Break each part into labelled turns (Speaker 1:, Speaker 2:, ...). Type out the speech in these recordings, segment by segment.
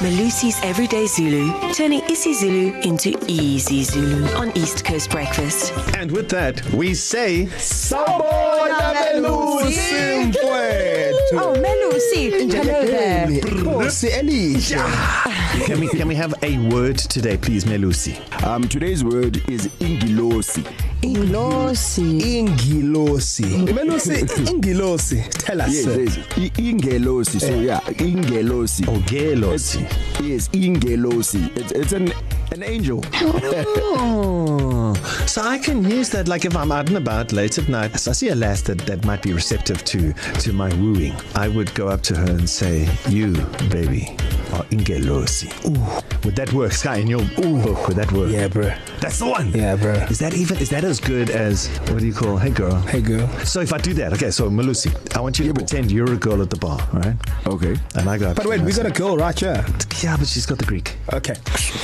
Speaker 1: Malusi's Everyday Zulu, turning isiZulu into easy Zulu on East Coast Breakfast.
Speaker 2: And with that, we say Sabona Melusi
Speaker 3: Oh,
Speaker 2: mfowethu.
Speaker 3: Melusi. Hello there.
Speaker 4: Nkosi elihle.
Speaker 2: Can we can we have a word today please Melusi?
Speaker 4: Um today's word is ingilosi.
Speaker 3: Ingilosi.
Speaker 5: ingilosi imelusi ingilosi tell us
Speaker 4: Yes, yes. I- Ingelosi. So yeah, ingelosi.
Speaker 2: Ogelos.
Speaker 5: Oh.
Speaker 4: Yes, ingelosi. It's it's an an angel.
Speaker 2: Oh, so I can use that like if I'm out and about late at night. So I see a lass that, that might be receptive to to my wooing. I would go up to her and say, "You, baby, are ingelosi." Ooh, would that work, Sky? In your ooh, book, would that work?
Speaker 5: yeah bro
Speaker 2: that's the one.
Speaker 5: Yeah, bro.
Speaker 2: Is that even? Is that as good as what do you call? Hey, girl.
Speaker 5: hey girl
Speaker 2: So if I do that, okay. So Malusi, I want you to pretend you're a girl at the bar, all right?
Speaker 4: Okay.
Speaker 2: And I go. Up
Speaker 5: but
Speaker 2: to
Speaker 5: wait
Speaker 2: her
Speaker 5: we
Speaker 2: and
Speaker 5: got a girl right here
Speaker 2: say, Yeah, but she's got the Greek.
Speaker 5: okay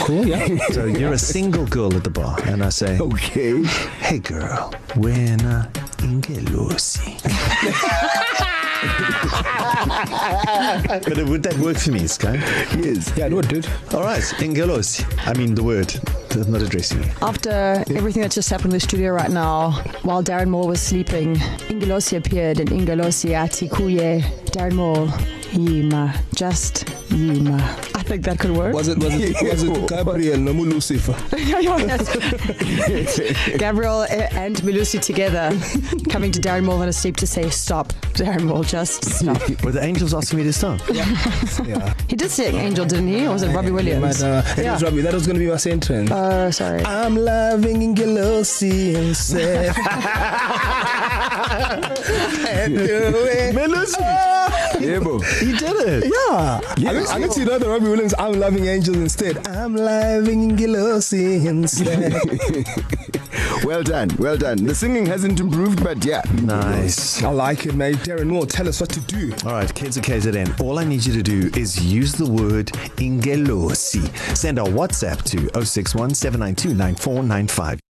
Speaker 5: cool yeah
Speaker 2: So you're a single girl at the bar, and I say,
Speaker 4: Okay.
Speaker 2: Hey girl, buena ingelosi. but would that work for me, Sky?
Speaker 4: Yes.
Speaker 5: yeah no dude
Speaker 2: All right, ingelosi. I mean the word. I'm not addressing you.
Speaker 3: After everything that's just happened in the studio right now, while Darren Moore was sleeping, Ingelosi appeared and Ingelosi Atikuye. Darren Moore, Yima. Just Yima. I think that could work.
Speaker 5: was it was it was it Gabriel no Lucifer
Speaker 3: Yeah, yeah, yes. Gabriel a- and Melusi together coming to Darren Moore on a sleep to say, Stop, Darren Moore, just stop.
Speaker 2: Were the angels asking me to stop?
Speaker 5: yeah
Speaker 3: He did sing Angel, didn't he? Or was it Robbie Williams?
Speaker 5: but, uh, it
Speaker 3: Yeah.
Speaker 5: was Robbie that was going to be my sentence uh,
Speaker 3: Oh, sorry.
Speaker 5: I'm loving ingilosi himself and do it
Speaker 2: Melusi,
Speaker 4: Yebo.
Speaker 2: he did it.
Speaker 5: Yeah, yeah. I, think, I think you know the Robbie Williams. I'm loving angels instead. I'm loving Ingelosi instead.
Speaker 4: Well done. Well done. The singing hasn't improved but yeah.
Speaker 2: Nice.
Speaker 5: I like it, mate. Darren Moore, tell us what to do.
Speaker 2: All right, kids at KZN, all I need you to do is use the word oh ingelosi. Send our WhatsApp to 061 792 9495.